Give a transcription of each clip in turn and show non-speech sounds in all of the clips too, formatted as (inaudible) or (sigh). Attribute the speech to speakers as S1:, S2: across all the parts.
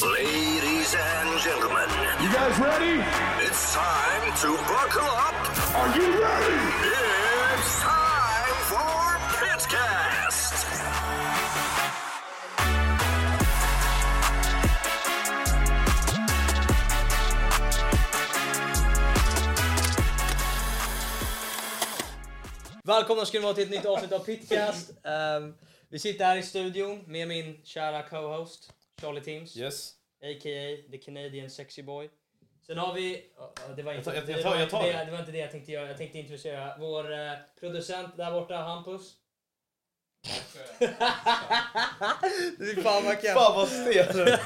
S1: Ladies and gentlemen,
S2: You guys ready?
S1: it's time to buckle up.
S2: Are you ready?
S1: It's time for Pitcast.
S3: Välkomna ska ni vara till ett nytt avsnitt av Pitcast. Ehm, vi sitter här i studion med min kära co-host Charlie Teams,
S4: Yes.
S3: a.k.a. the Canadian sexy boy. Sen har vi... ja, ja, det, var inte,
S4: tar- jag- jag
S3: det,
S4: tar-
S3: var,
S4: jag tar
S3: det,
S4: det.
S3: det var inte det jag tänkte göra. Jag tänkte introducera vår eh, producent där borta,
S4: (laughs)
S3: Hampus. det är fan vad kass.
S4: Fan
S3: (laughs)
S4: vad stel du Det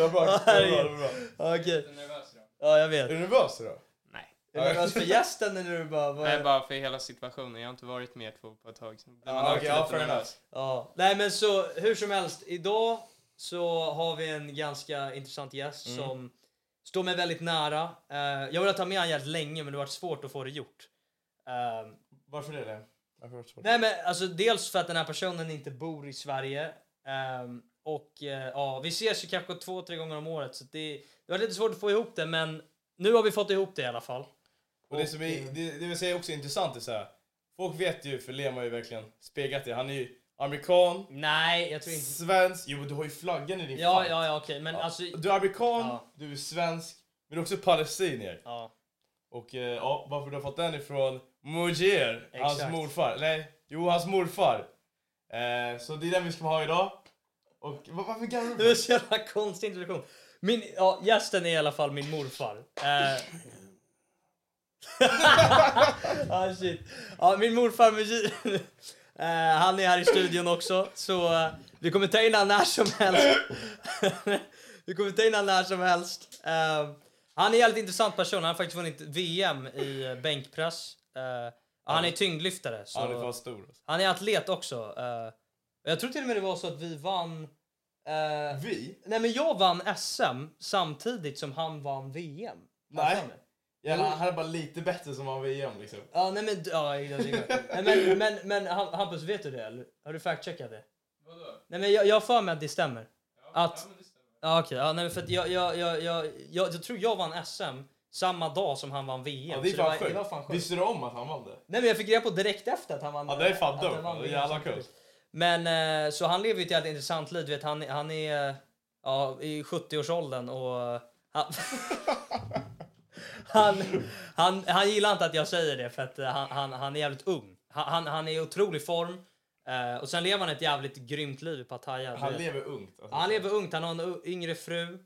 S4: var bra. Det var bra. Det var bra.
S3: Ja, Okej. Ja, jag
S4: Är du
S3: vet.
S4: nervös idag?
S5: Nej.
S3: Är du nervös
S4: (laughs)
S3: för gästen eller är du bara... vad är-
S5: Nej, bara för hela situationen. Jag har inte varit med er två på ett tag. Så blir man
S4: Eh, Ja,
S5: alltid
S4: okej, ja,
S5: lite
S4: fair enough.
S5: nervös.
S3: Ja, nej men så hur som helst. Idag så har vi en ganska intressant gäst som står mig väldigt nära. Eh, jag ville ta med honom jävligt länge men det har varit svårt att få det gjort. Ehm,
S4: Varför det? Liam? Varför var det svårt?
S3: nej men alltså dels för att den här personen inte bor i Sverige. Ehm, och eh, ja, vi ses ju kanske två, tre gånger om året så det, det var lite svårt att få ihop det men nu har vi fått ihop det i alla fall.
S4: Och eh, det som är, det, det vill säga också är intressant är så här. Folk vet ju, för Liam har ju verkligen speglat det. Han är ju amerikan,
S3: Nej, jag tror inte...
S4: svensk. Jo, men du har ju flaggan i din
S3: Ja,
S4: fight.
S3: ja, ja okej men alltså...
S4: Du är amerikan,
S3: Ja.
S4: du är svensk, men du är också palestinier.
S3: Ja,
S4: Och eh, ja, varför du har fått den ifrån Mujer, hans
S3: Exakt.
S4: morfar. Nej, jo hans morfar. Eh, så det är den vi ska ha idag. Och va- varför garvar
S3: Det var
S4: du?
S3: så jävla konstig introduktion. Min, ja, gästen är i alla fall min morfar. Eh. (laughs) ah, shit. Ja, min morfar Mujir. (laughs) Eh, han är här i studion också, så eh, vi kommer ta in honom när som helst. (laughs) vi kommer ta in honom när som helst. Eh, han är en jävligt intressant person. Han har faktiskt vunnit VM i eh, bänkpress. Eh, han är tyngdlyftare. Så...
S4: Han är fan stor. alltså.
S3: Han är atlet också. Eh, jag tror till och med det var så att vi vann... eh,
S4: Vi?
S3: nej men jag vann SM samtidigt som han vann VM.
S4: Nej.
S3: Har jag för mig.
S4: Ja, han han är bara lite bättre som han var igen liksom.
S3: Ja nej men... Ja, jag tycker- nej, men, men, men Han- Hampus, vet du det eller? Har du fact-checkat det? Vadå? Nej men jag, jag har för mig att det stämmer. att... Ja, okej. Ja, nej men för att jag, jag, jag, jag, jag, jag tror jag vann SM samma dag som han vann VM.
S4: Ja, det är
S3: Så
S4: fan
S3: var, det var fan
S4: sjukt.
S3: sjukt.
S4: Visste du om att han vann det?
S3: Nej men jag fick reda på direkt efter att han vann.
S4: Ja, det är fan
S3: att
S4: dumt.
S3: han vann
S4: Det är jävla
S3: samtidigt.
S4: kul.
S3: Men eh, så han lever ju ett jävligt intressant liv. Du vet, han, han är eh, ja, i 70-årsåldern och eh, han, (laughs) han, han, han gillar inte att jag säger det för att eh, han, han, han är jävligt ung. Han, han, han är i otrolig form eh, och sen lever han ett jävligt grymt liv i Pattaya.
S4: Han
S3: Du vet.
S4: lever ungt. Alltså.
S3: Ja, Han lever ungt, han har en u- yngre fru.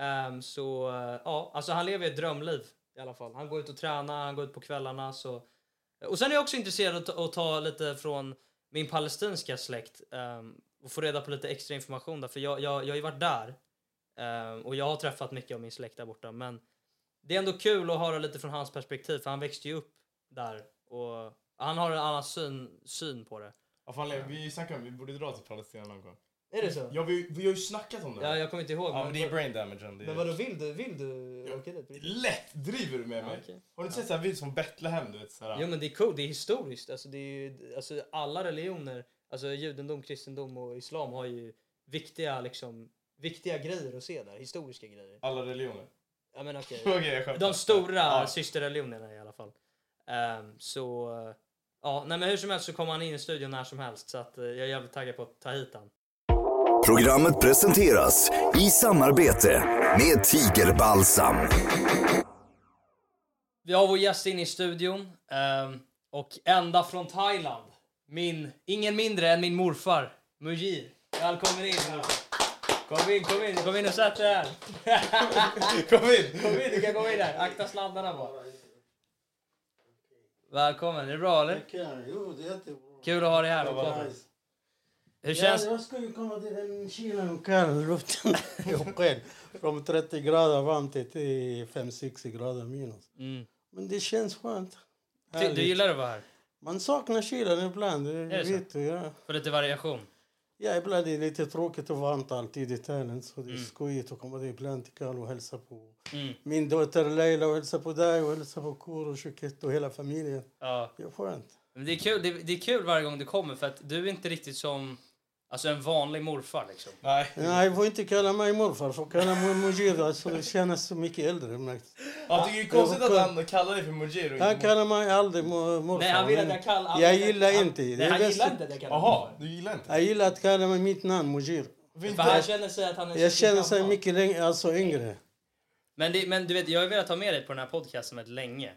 S3: Ehm, så eh, ja, alltså han lever ett drömliv i alla fall. Han går ut och tränar, han går ut på kvällarna. Så. Och sen är jag också intresserad att ta, att ta lite från min palestinska släkt ehm, och få reda på lite extra information där. För jag, jag, jag har ju varit där ehm, och jag har träffat mycket av min släkt där borta. Men det är ändå kul att höra lite från hans perspektiv för han växte ju upp där och han har en annan syn, syn på det.
S4: Ja, fan, Liam, vi snackade om vi borde dra till Palestina någon gång.
S3: Är det så?
S4: Ja, vi, vi har ju snackat om det.
S3: Ja,
S4: här.
S3: jag kommer inte ihåg.
S4: ja men det är brain damage. Det är...
S3: Men vadå, vill du, vill du
S4: Ja.
S3: åka dit?
S4: Lätt driver du med mig.
S3: okej.
S4: Har du inte sett sån här videos från Betlehem? Du vet, så här,
S3: Jo men det är coolt, det är historiskt. Alltså, det är ju, alltså, alla religioner, alltså judendom, kristendom och islam har ju viktiga, liksom, viktiga grejer att se där, historiska grejer.
S4: Alla religioner.
S3: Jag menar, okej.
S4: (laughs) Okej, jag skämtar.
S3: De stora
S4: Ja.
S3: systerreligionerna i alla fall. Ehm, så, eh, ja, nej men hur som helst så kommer han in i studion när som helst så att eh, jag är jävligt taggad på att ta hit han.
S1: Programmet presenteras i samarbete med Tigerbalsam.
S3: Vi har vår gäst in i studion ehm, och ända från Thailand, min, ingen mindre än min morfar Mujir. Välkommen in morfar. Kom in, kom in, kom in och sätt dig här. (laughs)
S4: Kom in!
S3: Kom in, du kan komma in här. Akta sladdarna bara. Välkommen, är det bra eller?
S6: Tackar. Jo, det är jättebra.
S3: Kul att ha dig här på podden.
S6: Nice.
S3: Hur
S6: Ja,
S3: känns
S6: jag ska ju komma till den kylan, kall, (laughs) luften är sken. Från 30 grader varmt till 5-6 grader minus.
S3: mm.
S6: Men det känns skönt.
S3: Ty- Du gillar att vara här?
S6: Man saknar kylan ibland.
S3: det så?
S6: Vet du, ja.
S3: För lite variation?
S6: ja, ibland är det lite tråkigt och varmt alltid i Thailand. Så det är skojigt att komma dit ibland till Kall och hälsa på
S3: Mm.
S6: min dotter Leila och hälsa på dig och hälsa på Kor och Shuket och hela familjen.
S3: Ja.
S6: Det är skönt.
S3: Men det, är kul, det, det är kul varje gång du kommer för att du är inte riktigt som Alltså en vanlig morfar liksom.
S4: Nej.
S6: Nej, du får inte kalla mig morfar, för kalla mig Mujib. Alltså, det känns så mycket äldre. men-
S4: Jag tycker det är konstigt att han kallar dig för Mujir och
S6: Han
S4: inte
S6: kallar mig aldrig mo- morfar.
S3: Nej, han vill att
S6: men
S3: jag kallar...
S6: Jag gillar inte. Det
S3: Nej,
S6: är
S3: han
S6: bäst-
S3: gillar inte att jag kallar honom
S4: Jaha, du gillar inte?
S6: Jag gillar att kalla mig mitt namn, Mujib.
S3: morfar. För han känner sig att han är
S6: Jag
S3: så
S6: känner sig
S3: gammal.
S6: mycket längre, alltså yngre.
S3: Men, det, men du vet, jag har velat ha med dig på den här podcasten med länge.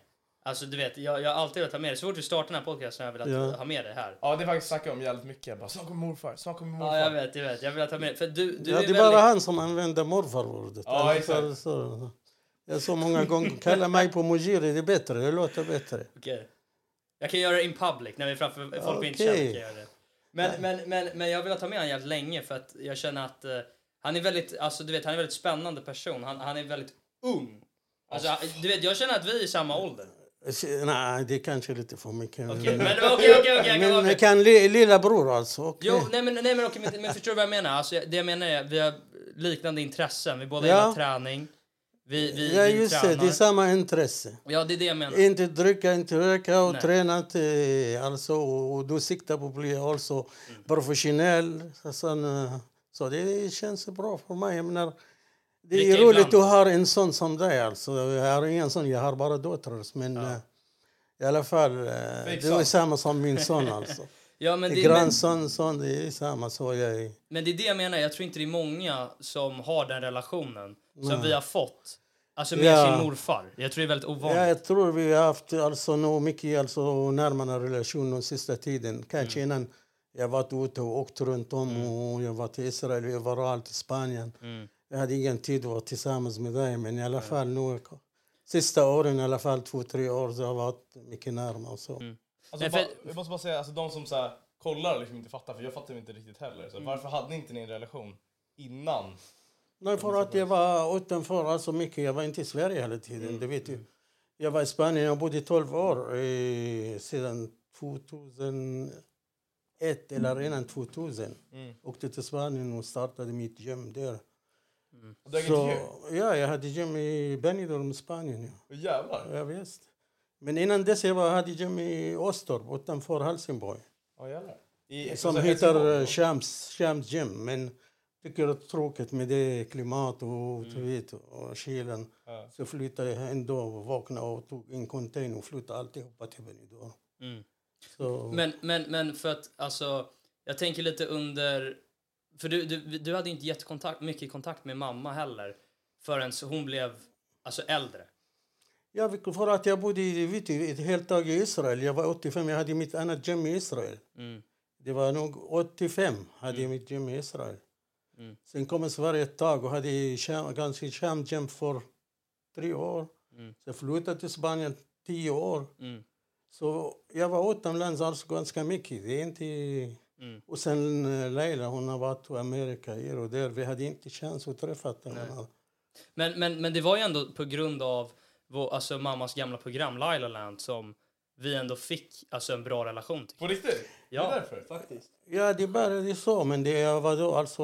S3: Alltså du vet, jag, jag har alltid velat ha med dig. Så fort vi startade den här podcasten har jag velat
S6: Ja.
S3: ha med dig här.
S4: Ja, det har faktiskt snackat om jävligt mycket. Jag bara, snart kommer morfar, snart kommer morfar.
S3: Ja, jag vet, jag vet. Jag vill ha med dig. För du, du
S6: Ja,
S3: är
S6: det är
S3: väldigt...
S6: bara han som använder morfar-ordet.
S4: Ja,
S6: Annars
S4: exakt.
S6: är det så- Jag så många gånger, kalla mig på Mujiri, det är bättre, det låter bättre.
S3: Okej. Jag kan göra det in public, när vi är framför folk vi inte
S6: Okej.
S3: känner. Kan jag göra det. Men, men, men, men jag har velat ha med honom jävligt länge för att jag känner att eh, han är väldigt, alltså du vet, han är en väldigt spännande person. Han, han är väldigt ung. Alltså, han- du vet, jag känner att vi är i samma ålder.
S6: Nej, det är kanske lite för mycket.
S3: Okej,
S6: men
S3: men okej, okej, okej. jag kan vara
S6: men
S3: med.
S6: jag kan li, lilla bror alltså. okej.
S3: Jo, nej men, nej, men, okej, men, men förstår du vad jag menar? Alltså, jag- det jag menar är vi har liknande intressen. Vi båda
S6: Ja.
S3: gillar träning. Vi, vi,
S6: ja,
S3: vi
S6: just det,
S3: tränar.
S6: det är samma intresse.
S3: Ja, det är det jag menar.
S6: Inte dricka, inte röka och
S3: Nej.
S6: träna inte, alltså, och, och du siktar på att bli alltså
S3: Mm.
S6: professionell. Så, sen, eh, så det känns bra för mig. Jag menar, det är
S3: Dricka
S6: roligt
S3: ibland.
S6: att ha en sån som dig. Alltså. Jag har ingen sån, jag har bara döttrar. Men eh, i alla fall, eh, du är
S4: son.
S6: samma som min son. Alltså.
S3: Ja, (laughs) men, det, men,
S6: Grannson, son, det är samma. Så jag är.
S3: men det är det jag menar. Jag tror inte det är många som har den relationen som vi har fått. Alltså med
S6: Ja.
S3: sin morfar. Jag tror det är väldigt ovanligt.
S6: Ja, jag tror vi har haft alltså nog mycket alltså, närmare relation den sista tiden. Kanske innan jag varit ute och åkt runt om och jag var till Israel och överallt i Spanien. Jag hade ingen tid att vara tillsammans med dig men i alla fall nu sista åren i alla fall två, tre år så har jag varit mycket närmare och så.
S4: Alltså,
S3: Nej, för-
S4: bara, jag måste bara säga, alltså, de som så här, kollar och liksom inte fattar, för jag fattar inte riktigt heller.
S3: Mm.
S4: Så, Varför hade ni inte ni en relation innan?
S6: Nej, för att jag var utanför alltså mycket. Jag var inte i Sverige hela tiden, det vet du. Jag var i Spanien, jag bodde i 12 år eh, sedan 2001 eller innan 2000. Åkte till Spanien och startade mitt gym där.
S4: Och du äger
S6: Så,
S4: inte djur?
S6: ja, jag hade gym i Benidorm, Spanien. Ja.
S4: Åh, Jävlar.
S6: Ja, visst. Men innan dess jag var, hade jag gym i Åstorp utanför Helsingborg
S4: Ja, jävlar. I,
S3: Alltså,
S4: alltså,
S6: som
S4: så här,
S6: heter eh,
S4: Helsingborg.
S6: Shams, Shams Gym. Men tycker det är tråkigt med det klimat och,
S3: Mm.
S6: du vet, och kylan.
S4: Ja.
S6: Så flyttade jag ändå och vaknade och tog en container och flyttade alltihopa till Benidorm.
S3: Mm.
S6: Så,
S3: Men, men, men för att alltså, jag tänker lite under... För du, du, du hade ju inte jättekontakt, mycket kontakt med mamma heller förrän så hon blev alltså, äldre.
S6: ja, vi- för att jag bodde i- vet du, ett helt tag i Israel. Jag var 85, jag hade mitt annat gym i Israel.
S3: Mm.
S6: Det var nog 85 hade jag mitt gym i Israel.
S3: Mm.
S6: Sen kom jag till Sverige ett tag och hade Sham- ganska Shams Gym för tre år.
S3: Mm.
S6: Sen flyttade jag till Spanien tio år.
S3: Mm.
S6: Så jag var utomlands alltså ganska mycket. Det är inte...
S3: Mm.
S6: Och sen eh, Leila, hon har varit i Amerika här och där. Vi hade inte chans att träffa varandra.
S3: Men, men, men det var ju ändå på grund av vår, alltså, mammas gamla program Laila Land som vi ändå fick alltså, en bra relation till.
S4: På riktigt?
S3: Ja.
S4: Det är därför? Faktiskt.
S6: Ja, det började så, men det jag var då alltså...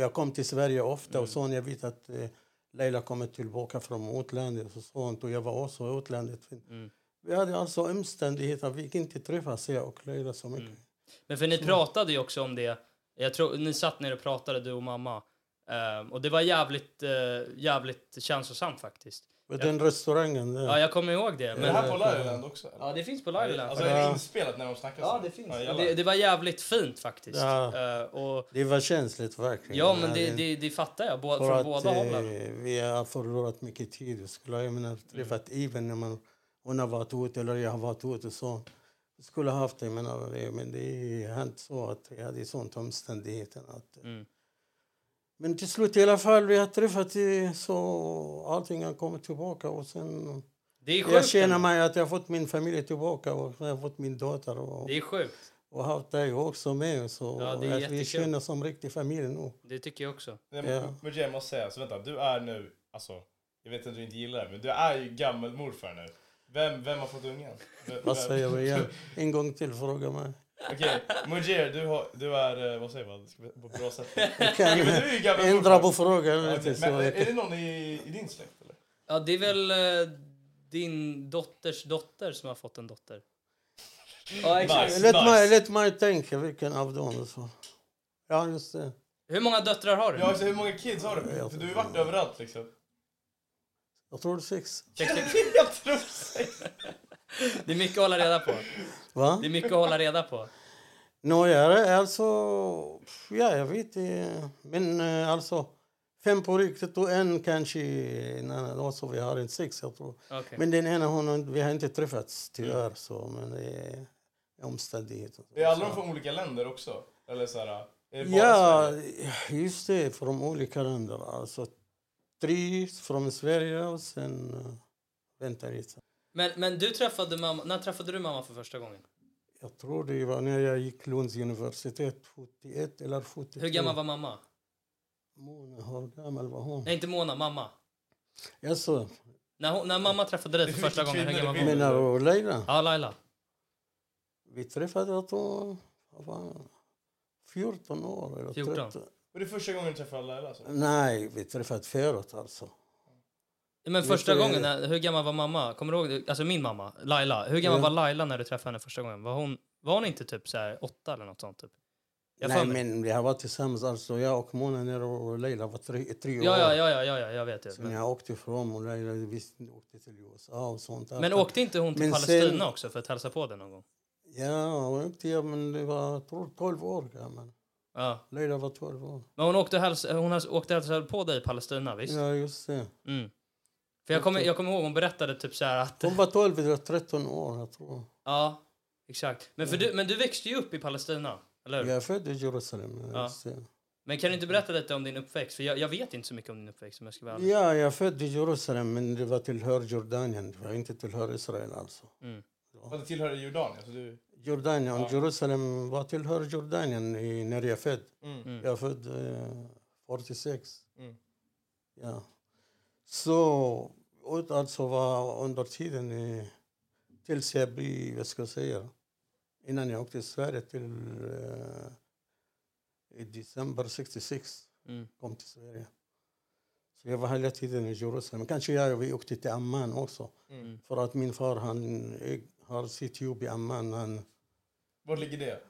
S6: Jag kom till Sverige ofta
S3: Mm.
S6: och så. Jag vet att eh, Leila kommer tillbaka från utlandet och sånt. Och jag var också i utlandet.
S3: Mm.
S6: Vi hade alltså omständigheter. Vi fick inte träffas, jag och Leila, så
S3: Mm.
S6: mycket.
S3: Men för ni pratade ju också om det. Jag tror, ni satt ner och pratade, du och mamma. Ehm, och det var jävligt, eh, jävligt känslosamt faktiskt.
S6: Och Den restaurangen eh, där.
S3: Ja, jag kommer ihåg det.
S4: Är det
S3: Men,
S4: här på Lärarland också? eller?
S3: ja, det finns på Laila Land.
S4: Alltså är det inspelat när de snackar
S3: Ja,
S4: så?
S3: det finns.
S4: jävlar.
S3: det, det var jävligt fint faktiskt.
S6: Ja.
S3: Eh, och,
S6: Det var känsligt verkligen.
S3: ja, men
S6: Jag
S3: det,
S6: hade-
S3: det, det fattar jag. Bå,
S6: För
S3: från
S6: att
S3: Alltså, båda hållen.
S6: eh, vi har förlorat mycket tid. Jag skulle jag
S3: Mm.
S6: menar, träffat Iben när man, hon har varit ute eller jag har varit ute. och Så. Jag skulle ha haft det, men, eh, men det är inte så att jag hade sånt omständigheten. Att, eh.
S3: Mm.
S6: Men till slut i alla fall, vi har träffat eh, så allting har kommit tillbaka. Och sen,
S3: Det är
S6: jag
S3: sjukt.
S6: känner
S3: ändå.
S6: mig att jag har fått min familj tillbaka och jag har fått min dotter och,
S3: Det är sjukt.
S6: och haft dig också med. Så
S3: Ja, det är
S6: att vi
S3: jättekul.
S6: känner som riktig familj nu.
S3: Det tycker jag också.
S4: Nej,
S6: Ja.
S4: men, men jag måste säga, så vänta, du är nu, alltså, jag vet att du inte gillar det, men du är ju gammelmorfar nu. Vem, vem har fått ungen? Vem-
S6: Vad
S4: vem?
S6: säger vi
S3: (laughs)
S6: igen? En gång till, fråga mig.
S4: Okej, Mujir, du, har, du är, eh, vad säger man, Ska vi- på ett bra
S6: (laughs)
S4: sätt?
S6: kan
S4: men du är ju gammelmorfar.
S6: ändra på frågan.
S4: Ja,
S6: vet du,
S4: okej,
S6: så
S4: Men
S6: jag
S4: är det
S6: kan-
S4: någon i, i din släkt eller?
S3: Ja, det är väl eh, din dotters dotter som har fått en dotter. Ja, exakt.
S4: Nice,
S6: Låt
S4: nice.
S6: mig, låt mig tänka vilken av dem. Så. Ja, just det.
S3: Hur många döttrar har du?
S4: Ja, alltså, hur många kids har du? För du har ju varit överallt liksom. (laughs)
S6: Jag tror det är sex.
S4: Jag tror sex.
S3: Det är mycket att hålla reda på.
S6: Va?
S3: Det är mycket att hålla reda på.
S6: Nåja, alltså... Ja, jag vet inte. Men eh, alltså... Fem på riktigt och en kanske... Nej, nej, alltså, vi har inte sex, jag tror.
S3: Okej.
S6: Men den ena, hon, har inte- vi har inte träffats tyvärr. Så, men det är omständigheter.
S4: Är alla de från olika länder också? Eller så här, är det bara
S6: Ja,
S4: Sverige?
S6: just det. Från olika länder. Alltså, tre från Sverige och sen... eh, Vänta lite.
S3: Men, men du träffade mamma, när träffade du mamma för första gången?
S6: Jag tror det var när jag gick Lunds universitet, 71 eller 72.
S3: Hur gammal var mamma?
S6: Mona, hur gammal var hon?
S3: Nej, inte Mona, mamma.
S6: Jaså,
S3: När, hon, när mamma träffade dig för första gången, hur gammal var hon?
S6: menar du Leila?
S3: Ja, Laila.
S6: Vi träffades, jag tror, jag var 14 år. Eller
S3: 14.
S6: 13.
S4: Var det första gången du träffade Laila? Alltså?
S6: Nej, vi träffades förut alltså.
S3: Men
S6: Just
S3: första
S6: det.
S3: gången, när, hur gammal var mamma? Kommer du ihåg, det? alltså min mamma, Laila. Hur gammal
S6: Ja.
S3: var Laila när du träffade henne första gången? Var hon, var hon inte typ så här åtta eller något sånt? Typ? Jag
S6: Nej,
S3: får mig-
S6: men vi har varit tillsammans, alltså, jag och Mona när och Leila var tre, tre år.
S3: Ja, ja, ja, ja, ja, ja, jag vet ju.
S6: Sen
S3: Men,
S6: jag åkte ifrån och Leila visste, åkte till USA och sånt. där.
S3: men åkte inte hon till
S6: Men sen-
S3: Palestina också för att hälsa på dig någon gång?
S6: Ja, hon åkte, ja, men det var jag tror 12 år gammal.
S3: Ja.
S6: Leila var 12 år.
S3: Men hon åkte och häls- hon häls- åkte och hälsade på dig i Palestina, visst?
S6: Ja,
S3: (laughs)
S6: just det.
S3: Mm. För jag kommer jag kommer ihåg, hon berättade typ så här att...
S6: Hon var 12 eller 13 år, jag tror.
S3: Ja, exakt. Men, för du, men du växte ju upp i Palestina, eller hur?
S6: Jag är född i Jerusalem.
S3: Ja.
S6: Ja. Just det.
S3: Men kan du inte berätta lite om din uppväxt? För jag, jag vet inte så mycket om din uppväxt om jag ska vara ärlig.
S6: Ja, jag är född i Jerusalem, men det var tillhör Jordanien. Det var inte tillhör Israel alltså.
S4: Och det tillhör Jordanien? Så du...
S6: Jordanien, Jerusalem var tillhör Jordanien i, när jag är född. Jag är född eh, 46.
S4: Mm.
S6: Ja. Så, och alltså var under tiden eh, tills jag blev, vad ska jag säga, innan jag åkte till Sverige till eh, i december 66.
S3: Mm.
S6: kom till Sverige. Så jag var hela tiden i Jerusalem. Kanske jag vi åkte till Amman också. För att min far han äg- har sitt jobb i Amman. Han,
S4: Var ligger det?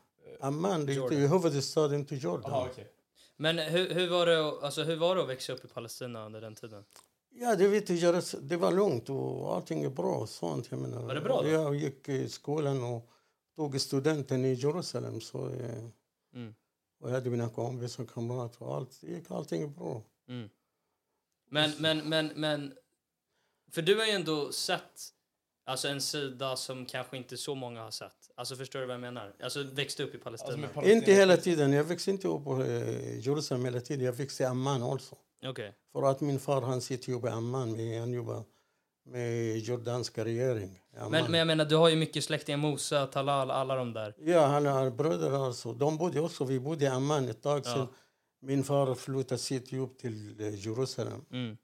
S6: Amman det är
S3: Jordan. Ah,
S6: ju huvudstaden till Jordan.
S4: Jaha, okej.
S3: Men hur, hur, var det, att- alltså, hur var det att växa upp i Palestina under den tiden?
S6: Ja, det, vet du, Jerus- det var lugnt och allting är bra. Och sånt, jag menar.
S3: Var det bra då?
S6: Jag gick i skolan och tog studenten i Jerusalem. Så, eh,
S3: Mm.
S6: Och jag hade mina kompisar och kamrater. och Allt, gick- allting är bra.
S3: Men, men, men, men... För du har ju ändå sett alltså, en sida som kanske inte så många har sett. Alltså förstår du vad jag menar? Alltså växte upp i
S4: Alltså,
S3: Palestina.
S4: med Palestina.
S6: Inte hela tiden. Jag växte inte upp i Jerusalem hela tiden. Jag växte i Amman också.
S3: Okej.
S6: För att min far han sitter ju i Amman, men han jobbar med jordanska regering. i Amman.
S3: Men, men jag menar, du har ju mycket släktingar. Mosa, Talal, alla de där.
S6: Ja, han har bröder alltså. De bodde också, vi bodde i Amman ett tag sedan. Min far flyttade sitt jobb till eh, Jerusalem
S3: Mm.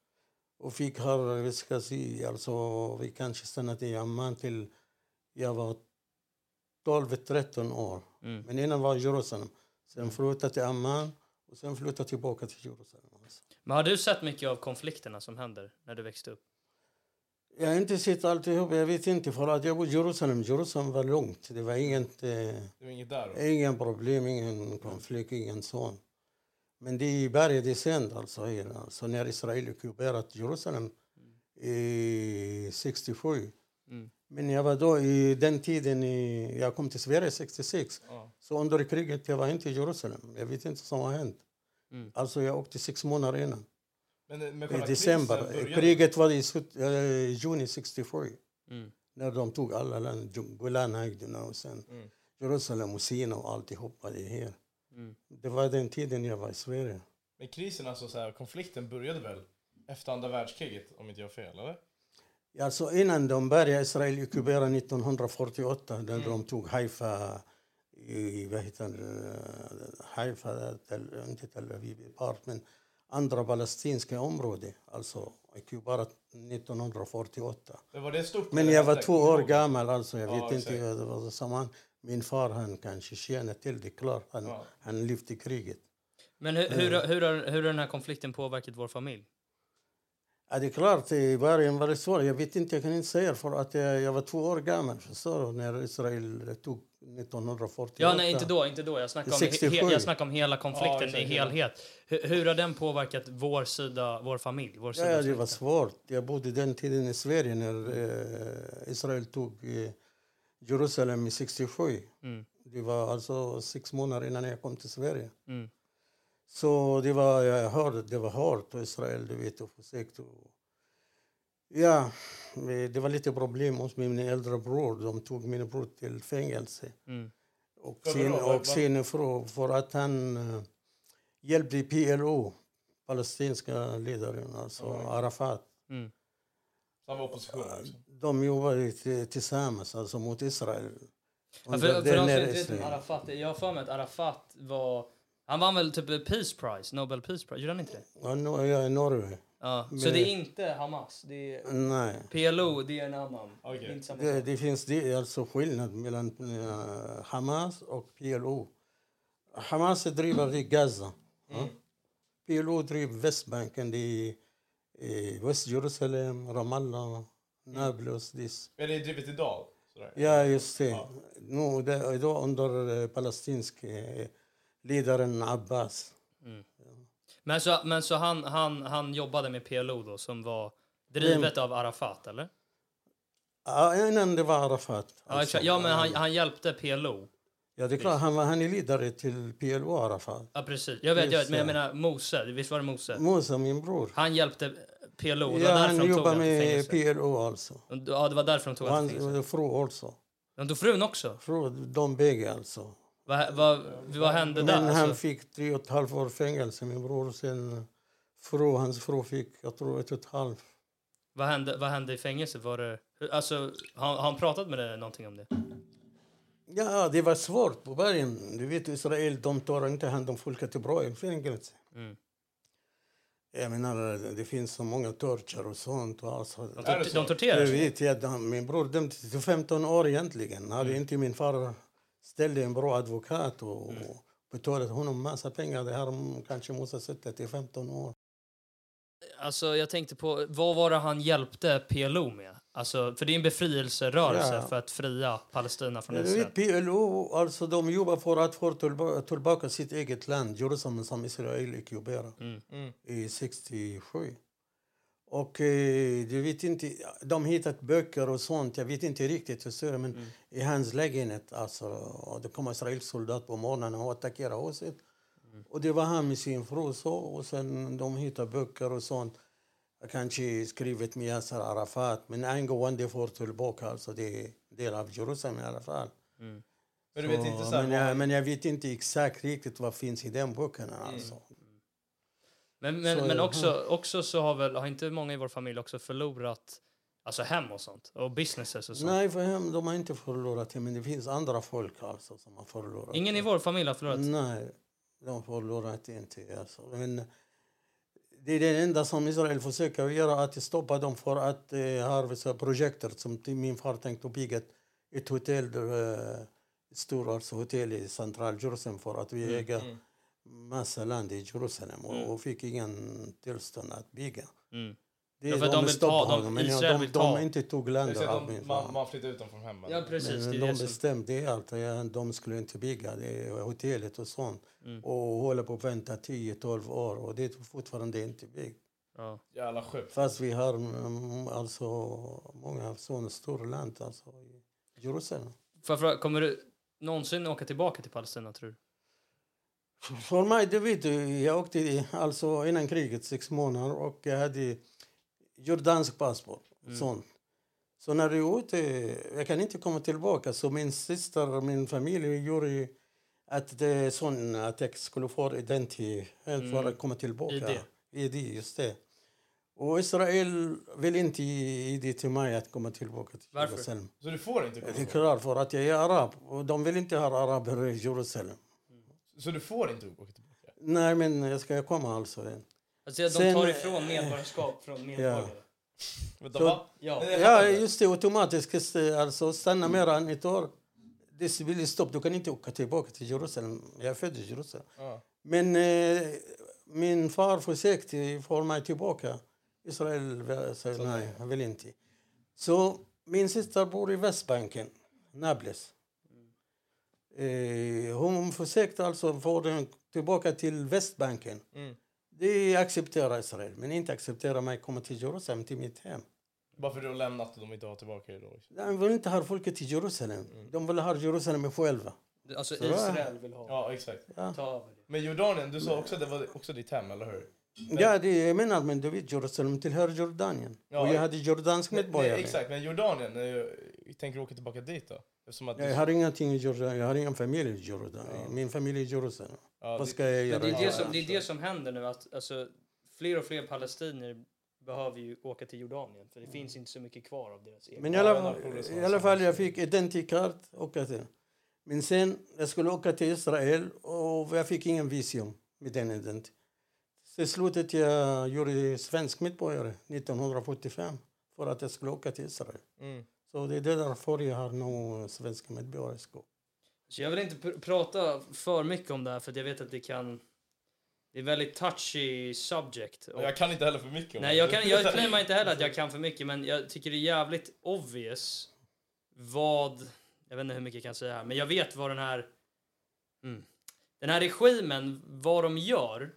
S6: och fick här, vi ska se, alltså vi kanske stannade i Amman till jag var 12-13 år.
S3: Mm.
S6: Men innan var Jerusalem. Sen flyttade till Amman och sen flyttade tillbaka till Jerusalem. Alltså.
S3: Men har du sett mycket av konflikterna som händer när du växte upp?
S6: Jag har inte sett alltihop. Jag vet inte. För att jag bor i Jerusalem. Jerusalem var lugnt. Det var inget, eh,
S4: Det var inget där? då?
S6: ingen problem, ingen konflikt, ingen sån. Men det började sen, alltså, här, alltså när Israel ockuperat Jerusalem i 67.
S3: Mm.
S6: Men jag var då i den tiden, i, jag kom till Sverige 66.
S4: Ja.
S6: Så under kriget jag var inte i Jerusalem. Jag vet inte vad som har hänt.
S3: Mm.
S6: Alltså jag åkte sex månader innan.
S4: Men, men
S6: I
S4: själva krisen
S6: december. eh,
S4: började-
S6: Kriget var i slut- eh, juni 67.
S3: Mm.
S6: När de tog alla land, Golanhöjderna och sen
S4: Mm.
S6: Jerusalem och Sina och alltihopa det här.
S3: Mm.
S6: Det var den tiden jag var i Sverige.
S4: Men krisen, alltså så här, konflikten började väl efter andra världskriget, om inte jag har fel, eller?
S6: Alltså innan de började Israel ockupera 1948 när de tog Haifa i, vad heter det, Haifa, Tel- inte Tel Aviv i part, men andra palestinska områden. Alltså ockuperat 1948.
S4: Men var det stort?
S6: Men
S4: eller?
S6: jag var
S4: Kommer
S6: två
S4: du
S6: år
S4: ihåg?
S6: gammal, alltså. Jag
S4: Ja,
S6: vet inte
S4: exakt.
S6: vad det var som han... Min far han kanske känner till det, klart. Han,
S4: Ja.
S6: han lyfte kriget.
S3: Eh. Men hur, hur, hur, har, hur har den här konflikten påverkat vår familj?
S6: Ja, det är klart, i början var det svårt. Jag vet inte, jag kan inte säga för att jag, jag var två år gammal, förstår du, när Israel tog 1948.
S3: Ja, nej, inte då, inte då. Jag snackar om, he,
S6: 67.
S3: jag snackar om hela
S4: Ja,
S3: konflikten
S4: exakt,
S3: i
S4: ja.
S3: helhet. Hur, hur har den påverkat vår sida, vår familj? Vår
S6: Ja,
S3: sida
S6: ja, det
S3: släkten?
S6: var svårt. Jag bodde den tiden i Sverige när eh, Israel tog eh, Jerusalem i 67. Det var alltså sex månader innan jag kom till Sverige.
S3: Mm.
S6: Så det var, jag hörde, det var hårt på Israel, du vet, och försökt. Och, ja, eh, det var lite problem hos min äldre bror. De tog min bror till fängelse.
S3: Mm.
S6: Och
S4: Varför
S6: sin,
S4: då? Var-
S6: och sin fru, för att han eh, hjälpte PLO, palestinska ledaren, alltså Arafat.
S4: Samma opposition liksom. också.
S6: De jobbade t- tillsammans alltså mot Israel.
S3: Ja, för,
S6: Under
S3: för de som
S6: den
S3: inte vet
S6: Israel.
S3: vem Arafat är, jag har för mig att Arafat var... Han vann väl typ Peace Prize, Nobel Peace Prize? Gjorde han inte det?
S6: Ja, Nor- ja, Norge.
S3: Ja. Så
S6: Men-
S3: det är inte Hamas, det är
S6: Nej.
S3: PLO, det är en annan.
S4: Okej.
S3: Det är inte samma
S6: Det,
S3: sak.
S6: det finns det är alltså skillnad mellan eh, Hamas och PLO. Hamas driver i Gaza. ja. PLO driver Västbanken, det är i Västjerusalem, Ramallah, Nablus. This.
S4: Men det är drivet idag. Sådär.
S6: Ja, just det. Nu, det idag under eh, palestinsk eh, ledaren Abbas.
S3: Men så, men så han, han, han jobbade med PLO då, som var drivet av Arafat, eller?
S6: Ja, innan det var Arafat. alltså.
S3: Ja, exakt. ja men han, han hjälpte PLO.
S6: Ja, det är klart, han, var, han är ledare till PLO, Arafat.
S3: Ja, precis. Jag vet, jag vet
S6: Just
S3: men jag
S6: det.
S3: menar Mose, visst var det Mose?
S6: Musa, min bror.
S3: Han hjälpte PLO, det
S6: Ja,
S3: var därför
S6: han
S3: de tog
S6: jobbar
S3: honom till
S6: med
S3: fängelse.
S6: PLO alltså.
S3: Ja, det var därför de tog
S6: Och
S3: honom till fängelse.
S6: hans fru också.
S3: De tog frun också?
S6: Fru, de bägge alltså.
S3: Vad, vad, vad hände
S6: Men
S3: där?
S6: han
S3: Alltså,
S6: fick tre och ett halvt år fängelse, min bror. Sen fru, hans fru fick, jag tror, ett och ett halvt.
S3: vad, hände, vad hände i fängelse? Var det, alltså, har, har han pratat med dig någonting om det?
S6: Ja, det var svårt på början. Du vet, Israel de tar inte hand om folket bra i fängelse.
S3: Mm.
S6: Jag menar, det finns så många tortyr och sånt. och Alltså,
S3: De,
S4: Är det
S3: tor-
S4: så?
S3: de torterar?
S6: Jag
S3: sig.
S6: vet, jag, de- min bror dömdes till 15 år egentligen. Hade inte min far ställt en bra advokat och och betalat honom massa pengar. Det här m- kanske måste sitta till 15 år.
S3: Alltså, jag tänkte på, vad var det han hjälpte PLO med? Alltså, för det är en befrielserörelse
S6: Ja.
S3: för att fria Palestina från
S6: Du
S3: Israel.
S6: vet, PLO, alltså de jobbar för att få tillba- tillbaka sitt eget land, Jerusalem, som Israel ockuperade
S3: Mm.
S6: i 67. Och eh, du vet inte, de hittat böcker och sånt, jag vet inte riktigt hur det är, men i hans lägenhet, alltså, och det kom israelisk soldat på morgonen och attackerade huset. Och det var han med sin fru så, och sen de hittade böcker och sånt. Kanske skrivet med Yasser Arafat, men angående får tillbaka, alltså det är del av Jerusalem i alla fall.
S4: Men du vet
S6: Så,
S4: inte så här,
S6: men, jag, men jag vet inte exakt riktigt vad finns i den boken alltså.
S3: Men, men,
S6: Så är
S3: men
S6: det.
S3: också, också så har väl, har inte många i vår familj också förlorat alltså hem och sånt? Och businesses och sånt?
S6: Nej, för hem, de har inte förlorat det, men det finns andra folk alltså som har förlorat.
S3: Ingen i vår familj har förlorat?
S6: Nej, de förlorat inte. Alltså. Men det är det enda som Israel försöker göra, att stoppa dem för att eh, harvesta projektet som till- min far tänkte bygga ett- ett hotell, eh, ett stort alltså, hotell i central Jerusalem för att
S3: Mm,
S6: vi äger massa land i Jerusalem och, och fick ingen tillstånd att bygga.
S3: Mm.
S6: Det,
S3: Ja, för de vill ta-
S6: stoppar
S3: de-
S6: honom, men ja,
S3: Israel
S6: de,
S3: vill
S6: de,
S3: ta-
S6: inte tog land
S4: exakt,
S6: av
S4: de,
S6: min far.
S4: man, man flyttar ut dem från hemma.
S3: Ja, precis. Det
S6: Men
S3: är
S6: de
S3: det som...
S6: bestämde allt. Ja, de skulle inte bygga det hotellet och sånt.
S3: Mm.
S6: Och hålla på och vänta 10-12 år och det är fortfarande inte byggt.
S3: Ja.
S4: Jävla sjukt.
S6: Fast vi har mm, alltså många sådana stora land alltså i Jerusalem.
S3: Får jag fråga, kommer du någonsin åka tillbaka till Palestina, tror du?
S6: För mig, det vet du, jag åkte i- alltså innan kriget sex månader och jag hade jordansk passport. Sånt. Så när jag är ute, jag kan inte komma tillbaka. Så min syster och min familj gjorde ju att, det, sån, att jag skulle få identitet för att komma tillbaka.
S3: ID.
S6: ID, just det. Och Israel vill inte ge ID till mig att komma tillbaka till
S3: Varför?
S6: Jerusalem.
S4: Så du får inte komma
S6: Det är
S4: tillbaka?
S6: klart, för att jag är arab. Och de vill inte ha araber i Jerusalem.
S4: Så du får inte åka tillbaka?
S6: Nej, men jag ska komma alltså. igen.
S3: Alltså, de
S6: Sen-
S3: tar ifrån medborgarskap från medborgare.
S4: Vänta,
S6: Så-
S4: va? Eh,
S3: Ja.
S4: Nej, jag
S6: Ja,
S4: fattar inte.
S6: just det. Automatiskt. just det, Alltså, stanna mer än ett år. Det blir stopp. Du kan inte åka tillbaka till Jerusalem. Jag är född i Jerusalem.
S4: Ja.
S6: Men eh, min far försökte få mig tillbaka Israel vä- säger nej, jag vill inte. Så min syster bor i Västbanken, Nablus. Eh, hon försökte alltså få den tillbaka till Västbanken.
S4: Mm.
S6: Det accepterar Israel, men inte accepterar mig att komma till Jerusalem, till mitt hem.
S4: Bara för att du har lämnat och de inte har tillbaka dig då. Liksom.
S6: De vill inte ha folket till Jerusalem. De vill ha Jerusalem själva.
S3: Alltså
S6: det var-
S3: Israel vill ha.
S4: Ja, exakt.
S3: Ta över det.
S4: Men Jordanien, du sa också att det var också ditt hem, eller hur?
S6: Ja, det är jag menar, men du vet, Jerusalem tillhör Jordanien.
S4: Ja,
S6: och jag
S4: ja.
S6: hade jordansk medborgare.
S4: Nej, exakt, men Jordanien, när jag tänker åka tillbaka dit då? Eftersom att
S6: Jag har ingenting i Jordanien, jag har ingen familj i Jordanien. Min familj är i Jerusalem.
S4: ja,
S6: Vad
S4: det-
S6: ska jag
S3: Men
S6: göra?
S3: det, är
S6: i
S3: det, som, det är
S6: Jordanien?
S3: det som händer nu. Att, alltså, fler och fler palestinier behöver ju åka till Jordanien. För det finns inte så mycket kvar av deras egna.
S6: Men i alla, i alla fall, jag fick identikart åka till. Men sen, jag skulle åka till Israel och jag fick ingen visum med den ident. Till slutet jag gjorde svensk medborgare 1975 för att jag skulle åka till Israel.
S4: Mm.
S6: Så det är därför jag har nu svenska medborgarskap.
S3: Så jag vill inte pr- prata för mycket om det här för att jag vet att det kan... Det är väldigt touchy subject. Och,
S4: Och jag kan inte heller för mycket om
S3: nej,
S4: det.
S3: jag, kan, jag claimar inte heller att jag kan för mycket men jag tycker det är jävligt obvious vad... Jag vet inte hur mycket jag kan säga här men jag vet vad den här... Mm, den här regimen, vad de gör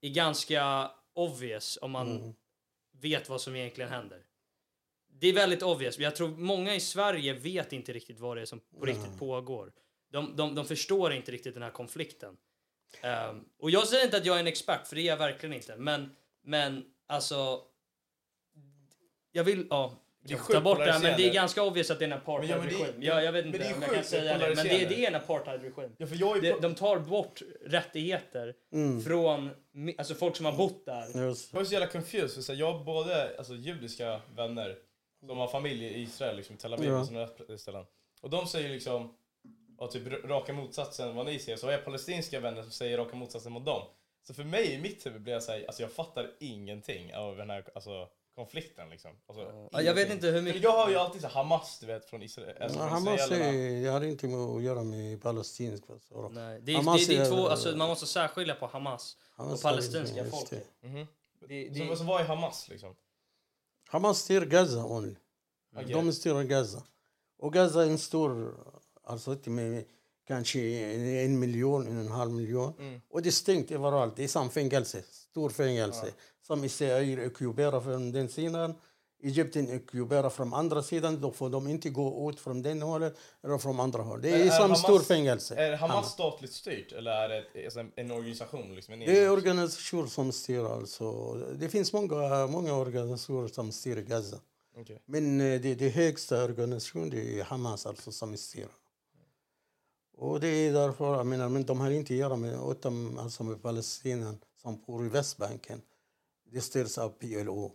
S3: är ganska obvious om man vet vad som egentligen händer. Det är väldigt obvious, men jag tror många i Sverige vet inte riktigt vad det är som på riktigt pågår. De, de, de förstår inte riktigt den här konflikten. Ehm, och jag säger inte att jag är en expert, för det är jag verkligen inte. Men, men alltså... Jag vill, ja.
S4: är
S3: kanske
S4: sjukt
S3: ta bort det här, men det är
S4: polariserande.
S3: ganska obvious att det är en
S4: ja, men det är-
S3: apartheidregim. Jag, jag vet inte
S4: men det är
S3: om jag
S4: sjukt
S3: kan säga det, men det,
S4: polariserande.
S3: det är en apartheidregim.
S4: (laughs) Ja, Mm. för jag är
S3: De, de tar bort rättigheter från mi- alltså folk som har bott där.
S6: Just.
S4: Jag är så jävla confused, för så här, jag har både alltså, judiska vänner som har familj i Israel, liksom, i Tel Aviv
S6: Ja.
S4: och sådana där ställen. Och de säger liksom ja, typ r- raka motsatsen vad ni säger. Så har jag palestinska vänner som säger raka motsatsen mot dem. Så för mig i mitt huvud blir jag såhär, alltså jag fattar ingenting av den här alltså, konflikten liksom. Alltså,
S3: Ja, jag vet inte hur mycket...
S4: För jag har ju alltid så här Hamas du vet från Israel. Alltså, från
S6: Hamas är,
S4: israelerna.
S6: jag har inte med att göra med palestinsk. alltså.
S3: Nej, det är,
S6: Hamas
S3: det, det är
S6: är-
S3: två, alltså, man måste särskilja på Hamas,
S6: Hamas
S3: och palestinska
S6: är- just
S3: folket. Det,
S4: Så,
S3: det,
S4: så Alltså, vad är Hamas liksom?
S6: Hamas styr Gaza only.
S4: Okej.
S6: De styr Gaza. Och Gaza är en stor, alltså inte med, kanske en miljon, en och en halv miljon.
S4: Mm.
S6: Och det är stängt överallt. Det är som fängelse, stor fängelse. Som Israel ockuperar från den sidan. Egypten ockuperar från andra sidan. Då får de inte gå ut från den hållet eller från andra hållet. Det är,
S4: är
S6: som
S4: Hamas-
S6: stor fängelse.
S4: Är Hamas statligt styrt eller är det alltså, en, en organisation? Liksom, en
S6: Det är
S4: egen-
S6: organisationer som styr alltså. Det finns många, många organisationer som styr Gaza.
S4: Okej.
S6: Men eh, det, det högsta organisationen det är Hamas alltså som styr. Och det är därför, jag menar, men de har inte att göra med, utom alltså med Palestina som bor i Västbanken. Det styrs av PLO.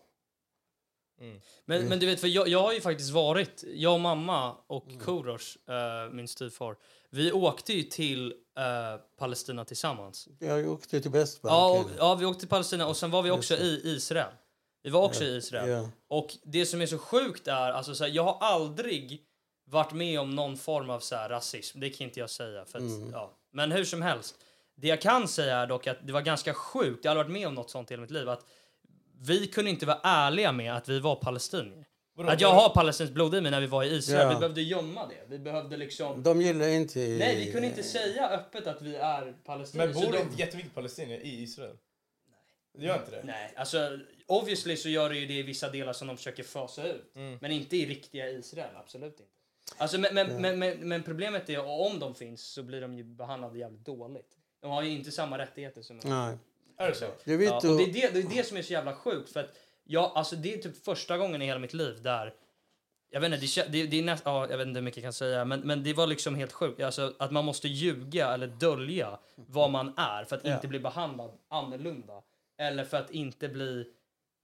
S3: men, men du vet, för jag, jag har ju faktiskt varit, jag och mamma och
S6: Mm.
S3: Korosh, eh, min styvfar, vi åkte ju till eh, Palestina tillsammans.
S6: Jag åkte till
S3: Ja, och,
S6: Västbanken.
S3: ja, vi åkte till Palestina och sen var vi också i Israel. Vi var också i Israel.
S6: ja.
S3: Och det som är så sjukt är, alltså så här, jag har aldrig varit med om någon form av så här, rasism. Det kan inte jag säga. För att,
S6: Mm.
S3: ja. Men hur som helst. Det jag kan säga är dock att det var ganska sjukt. Jag har aldrig varit med om något sånt i hela mitt liv. Att vi kunde inte vara ärliga med att vi var palestinier. att jag har palestinskt blod i mig när vi var i Israel.
S6: Ja.
S3: Vi behövde gömma det. Vi behövde liksom...
S6: De gillar inte...
S3: Nej, vi kunde inte säga öppet att vi är palestinier.
S4: Men
S3: Så
S4: bor det
S3: de-
S4: inte jättemycket palestinier i Israel? Det gör inte det?
S3: Nej, alltså obviously så gör det ju det i vissa delar som de försöker fasa ut. Men inte i riktiga Israel, absolut inte. Alltså, men, men, men, men, men problemet är att om de finns så blir de ju behandlade jävligt dåligt. De har ju inte samma rättigheter som en
S6: Nej.
S4: Är det så?
S6: Du
S3: Ja,
S6: vet,
S3: och det, är det, det är det som är så jävla sjukt. För att jag, alltså, det är typ första gången i hela mitt liv där... Jag vet inte, det, kä- det, det är näst, ja, jag vet inte hur mycket jag kan säga, men, men det var liksom helt sjukt. Alltså, att man måste ljuga eller dölja vad man är för att inte bli behandlad annorlunda. Eller för att inte bli...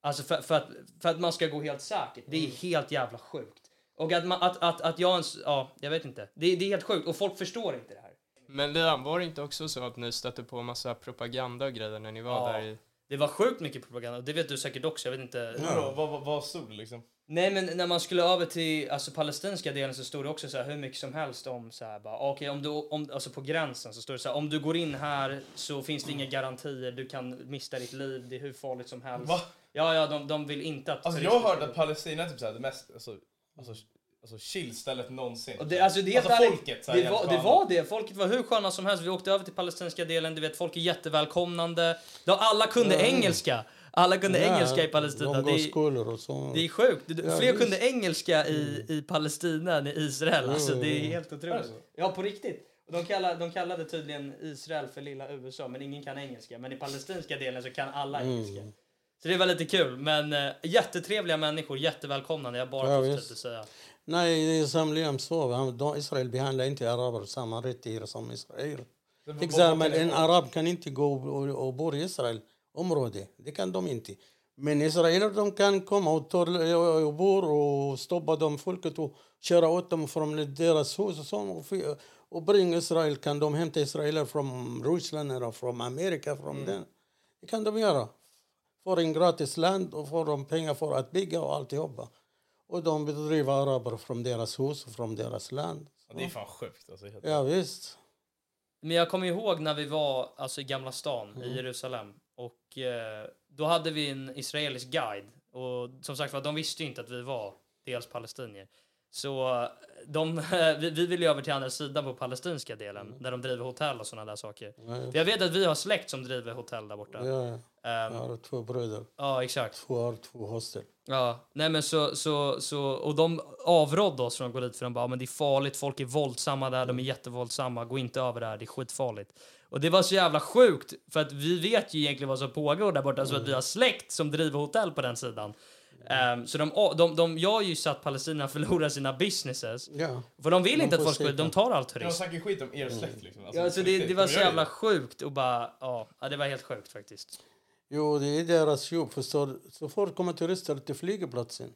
S3: Alltså för, för, att, för att man ska gå helt säkert. Det är helt jävla sjukt. Och att, man, att, att, att jag ens... Ja, jag vet inte. Det, det är helt sjukt. Och folk förstår inte det här.
S5: Men Liam, var det inte också så att ni stötte på massa propaganda och grejer när ni var
S3: Ja.
S4: Mm.
S5: där i...
S3: Det var sjukt mycket propaganda. Det vet du säkert också. Jag vet inte.
S4: Vadå, Vad, vad, vad stod det liksom?
S3: Nej men när man skulle över till alltså, palestinska delen så stod det också så här, hur mycket som helst om så här, bara, okej, om du, om, alltså på gränsen så står det så här, om du går in här så finns det inga garantier, du kan mista ditt liv, det är hur farligt som helst.
S4: Va?
S3: Ja, ja, de, de vill inte att...
S4: Alltså
S3: turister
S4: jag har
S3: ska
S4: hört
S3: gå.
S4: att Palestina är typ såhär det mest, alltså, alltså, alltså chillstället någonsin.
S3: Och det, alltså det, är helt
S4: alltså
S3: ärligt,
S4: folket såhär,
S3: det, var, det
S4: jävligt
S3: var det. Folket var hur sköna som helst. Vi åkte över till palestinska delen. Du vet, folk är jättevälkomnande. Då alla kunde engelska. Alla kunde engelska i Palestina.
S6: De
S3: Det
S6: går
S3: är,
S6: skolor och så.
S3: det är skönt. Det-
S6: Ja,
S3: Fler
S6: visst.
S3: kunde engelska i, i Palestina än i Israel. Alltså,
S6: Mm.
S3: det är helt
S4: Är det
S3: otroligt.
S4: så?
S3: Ja, på rriktigt. Och De kallade, de kallade tydligen Israel för lilla USA, men ingen kan engelska. Men i palestinska delen så kan alla
S6: Mm.
S3: engelska. Så det var lite kul. Men eh, jättetrevliga människor, jättevälkomnande. Jag bara
S6: Ja,
S3: fortsätter
S6: visst.
S3: säga.
S6: Nej, som Liam sa, han- de- Israel behandlar inte araber samma rättigheter som Israel.
S4: Det
S6: Till exempel, en arab kan inte gå och, och bo i Israel område. Det kan de inte. Men israeler de kan komma och, ta, och bo och stoppa dem folket och köra åt dem från deras hus och, så, och, fi- och bringa Israel. Kan de hämta israeler från Ryssland eller från Amerika? Från den. Det kan de göra. Får en gratis land och får de pengar för att bygga och alltihopa. Och de bedriver araber från deras hus och från deras land.
S4: Det är fan sjukt alltså. helt-
S6: Ja, visst.
S3: Men jag kommer ihåg när vi var alltså, i Gamla stan
S6: Mm.
S3: i Jerusalem. Och eh, då hade vi en israelisk guide. Och som sagt var, de visste ju inte att vi var dels palestinier. Så eh, de, (laughs) vi, vi ville ju över till andra sidan på palestinska delen.
S6: Mm.
S3: Där de driver hotell och sådana där saker. För jag vet att vi har släkt som driver hotell där borta.
S6: Ja, ja.
S3: Ehm,
S6: Jag har två bröder.
S3: ja exakt.
S6: Två har två hostel.
S3: Ja, nej men så, så, så, och de avrådde oss från att gå dit för de bara, men det är farligt, folk är våldsamma där,
S4: Mm.
S3: de är jättevåldsamma, gå inte över där, det är skitfarligt. Och det var så jävla sjukt, för att vi vet ju egentligen vad som pågår där borta, så att vi
S4: Mm.
S3: har släkt som driver hotell på den sidan. Ehm, så de, de, de, jag har ju sett Palestina (laughs) förlora sina businesses,
S6: Ja.
S3: för de vill
S6: De
S3: inte att
S6: får
S3: folk ska
S6: se
S3: de tar all
S4: De
S3: turism.
S4: snackar skit om er
S6: Mm.
S4: släkt liksom.
S3: Ja, alltså
S4: på
S3: det,
S4: riktigt,
S3: det var
S4: de
S3: så
S4: gör
S3: jävla
S4: det.
S3: sjukt och bara, ja, ja, det var helt sjukt faktiskt.
S6: Jo, det är deras jobb. Förstår. du? Så fort kommer turister till flygplatsen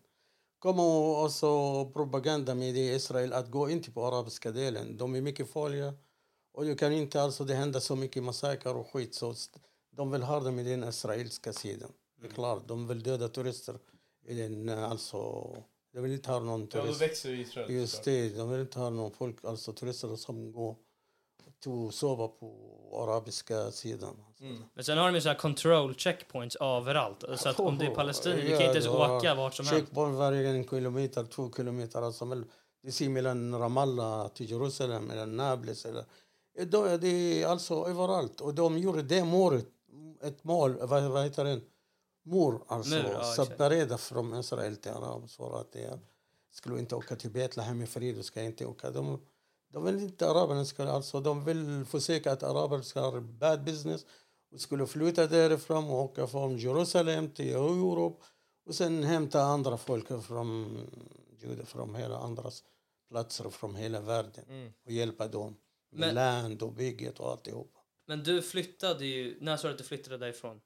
S6: kommer också propaganda med i Israel att gå inte på arabiska delen. De är mycket farliga och du kan inte alltså det händer så mycket massaker och skit. Så st- de vill ha det med den israeliska sidan. Det är klart, de vill döda turister. I den, eh, alltså, de vill inte ha någon
S4: Ja, då
S6: turist.
S4: växer ju Israel.
S6: Just
S4: såklart.
S6: det, de vill inte ha någon folk, alltså turister som går och sover på arabiska sidan.
S3: Men sen har de ju så här control checkpoints överallt. Så att om du är palestin, du kan inte ens åka vart som helst.
S6: Checkpoint varje en kilometer, två kilometer. Alltså, mell- det ser mellan Ramallah till Jerusalem, mellan Nablus. Eller, då, det är alltså överallt. Och de gjorde det målet, ett mål, vad, vad heter det? Mor, alltså.
S3: Mur, ja, exakt.
S6: separerade från Israel till Arab. Så att det är, skulle inte åka till Betlehem i fred, du ska inte åka. De, de vill inte araberna ska, alltså de vill försöka att araber ska ha bad business och skulle flytta därifrån och åka från Jerusalem till Europa och sen hämta andra folk från judar från hela andra platser från hela världen och hjälpa dem med
S3: Mm. Men-
S6: land och bygget och alltihopa.
S3: Men du flyttade ju... När sa du att du flyttade därifrån?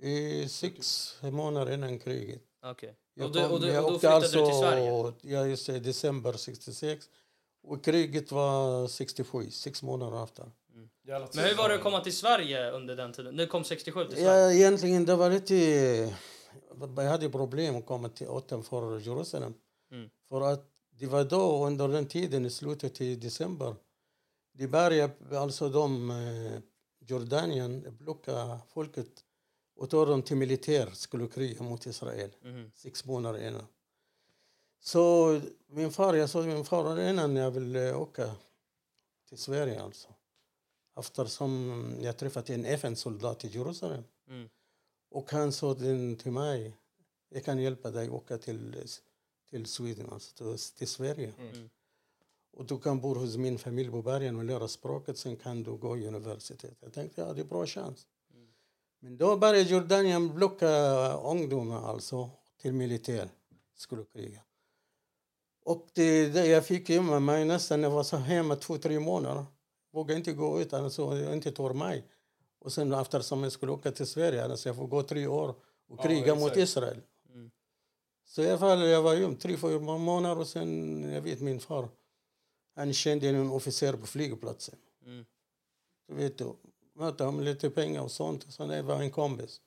S6: I sex månader innan kriget.
S3: Ah, Okej.
S6: Jag
S3: Och, du, och,
S6: kom-
S3: du,
S6: jag
S3: och då
S6: åkte alltså
S3: flyttade du till Sverige?
S6: Ja, just det, december 66. Och kriget var 67, sex månader efter.
S4: Jävla
S3: Men hur var det att komma till Sverige under den tiden? Nu kom 67 till Sverige.
S6: Ja, egentligen det var lite... Jag hade problem att komma till utanför Jerusalem.
S3: Mm.
S6: För att det var då, under den tiden, i slutet i december, de började, alltså de, eh, Jordanien, blocka folket och ta dem till militär, skulle kriga mot Israel.
S3: Mhm.
S6: Sex månader innan. Så min far, jag sa till min far innan jag ville åka till Sverige alltså. Eftersom jag träffat en FN-soldat i Jerusalem.
S3: Mm.
S6: Och han sa den till mig, jag kan hjälpa dig åka till, till Sweden, alltså till, till Sverige.
S4: Mm.
S6: Och du kan bo hos min familj på bergen och lära språket, sen kan du gå i universitet. Jag tänkte, ja det är bra chans. Men då började Jordanien blocka ungdomar alltså till militär, skulle kriga. Och det, det jag fick gömma mig nästan, jag var så hemma två, tre månader. Vågade inte gå ut, alltså jag inte tog mig. Och sen eftersom jag skulle åka till Sverige, alltså jag får gå tre år och
S4: Ja,
S6: kriga
S4: exakt.
S6: mot
S4: Mm.
S6: Israel. Så i alla fall, jag var gömd tre, fyra månader och sen, jag vet min far, han kände en officer på flygplatsen.
S4: Mm.
S6: Du vet du, möta honom lite pengar och
S4: Mm.
S6: sånt. Så det var en kompis.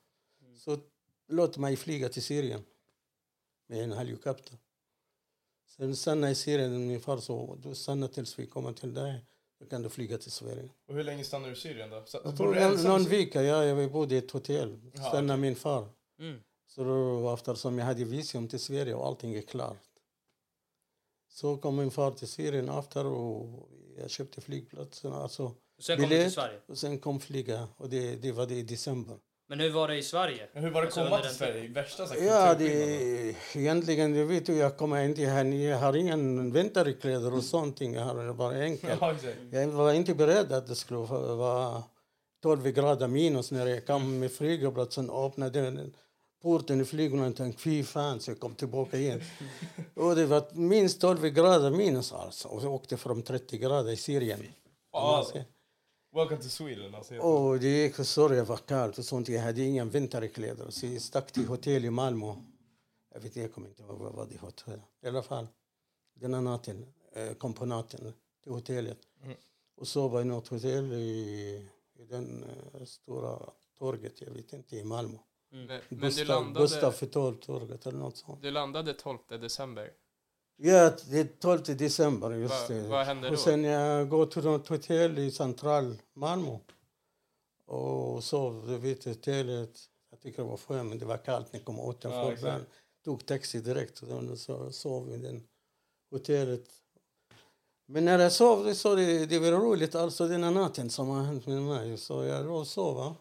S6: Så låt mig flyga till Syrien. med en helikopter. Sen stannade i Syrien, min far sa du stannar tills vi kommer till dig. Då kan du flyga till Sverige.
S4: Och hur länge stannade du i Syrien då? Så,
S6: Jag
S4: bor du
S6: någon,
S4: ensam?
S6: någon vecka, ja, jag bodde i ett hotell.
S4: Ja,
S6: Stannade min far.
S3: Mm.
S6: Så då, eftersom jag hade visum till Sverige och allting är klart. Så kom min far till Syrien efter och jag köpte flygplatsen. Alltså,
S3: Sen kom du till
S6: biljett,
S3: Sverige.
S6: Och sen kom flyga och det, det var det i december.
S3: Men hur var det i Sverige?
S4: Hur var det att
S3: Alltså,
S4: komma
S3: under
S4: till
S3: den
S4: Sverige? Värsta så här,
S6: Ja, det,
S4: kulturskillnaden.
S6: egentligen, du vet du, jag kommer inte här. Jag har ingen vinterkläder och sånt. Jag har bara enkelt.
S4: Ja, exakt.
S6: Jag var inte beredd att det skulle vara 12 grader minus när jag kom med flygplatsen och öppnade den porten i flygplanet. tänkte fy fan, så jag kom
S4: (laughs)
S6: tillbaka igen. och det var minst 12 grader minus alltså. Och jag åkte från 30 grader i Syrien.
S4: Ja, Welcome to Sweden alltså. heter det.
S6: Och det gick för sorg, jag var kallt och sånt. Jag hade inga vinterkläder. Så jag stack till hotell i Malmö. Jag vet inte, jag kommer inte ihåg vad var det hotell. I alla fall, den här natten eh, kom på natten till hotellet.
S5: Mm.
S6: Och sov i något hotell i, i den eh, stora torget, jag vet inte, i Malmö.
S5: Men, men du,
S6: Gustav,
S5: landade,
S6: Gustav Fetol-torget eller något sånt.
S5: du landade 12 december.
S6: Ja, det är 12 december. Just
S5: Vad-
S6: det.
S5: vad hände då?
S6: Och sen jag går till något hotell i central Malmö och sov vid hotellet. Jag tycker det var skönt, men det var kallt när jag kom åt den
S4: Ja,
S6: ja,
S4: exakt.
S6: Tog taxi direkt och då så sov i det hotellet. Men när jag sov så det, det var roligt, alltså den här natten som har hänt med mig. Så jag låg och sov. va.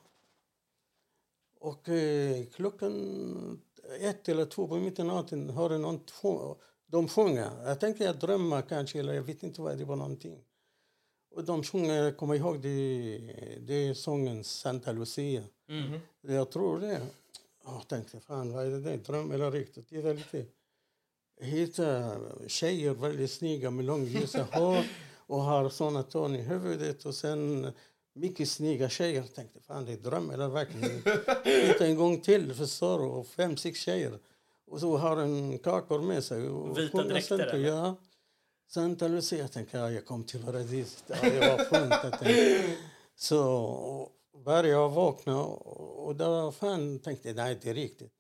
S6: Och eh, klockan ett eller två på mitt i natten hörde någon sjunga. De sjunger. Jag tänkte jag drömmer kanske, eller jag vet inte vad det var någonting. Och de sjunger, jag kommer ihåg det, det är sången Santa Lucia.
S3: Mhm.
S6: Jag tror det. Jag tänkte, fan vad är det där? Dröm eller riktigt? Titta lite. Hitta tjejer väldigt snygga med långljusa
S3: (laughs)
S6: hår och har såna ton i huvudet och sen mycket snygga tjejer. Jag tänkte, fan det är dröm eller verkligen? Hitta en gång till, förstår du? Och fem, sex tjejer. Och så har en kakor med sig. Och
S3: Vita
S6: sjunger
S3: dräkter,
S6: Santa,
S3: eller?
S6: Ja. Santa Lucia, jag tänkte, ja, jag kom till paradiset. Ja, det var skönt. Jag tänkte. Så började jag vakna och och då fan tänkte jag, nej det är riktigt.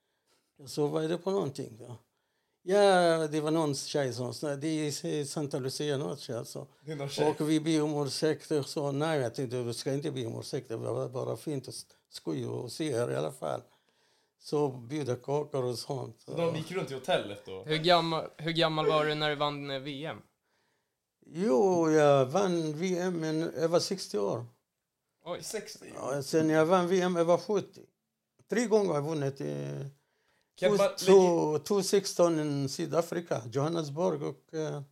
S6: Så vad är det på någonting då? Ja, det var någon tjej som sa, det är Santa Lucia Noche alltså.
S4: Det är någon tjej.
S6: Och vi ber om ursäkt. Och så, nej, jag tänkte, du ska inte be om ursäkt. Det var bara fint och skoj och se er i alla fall. Så bjuda kakor och sånt.
S4: De gick runt i hotellet då.
S5: Hur gammal, hur gammal var du när du vann eh, VM?
S6: Jo, jag vann VM, men jag var 60 år.
S5: Oj,
S4: 60.
S6: Ja, sen jag vann VM, jag var 70. Tre gånger har jag vunnit. Eh,
S4: Kan man, lägga,
S6: to- 2016 i Sydafrika, Johannesburg och eh,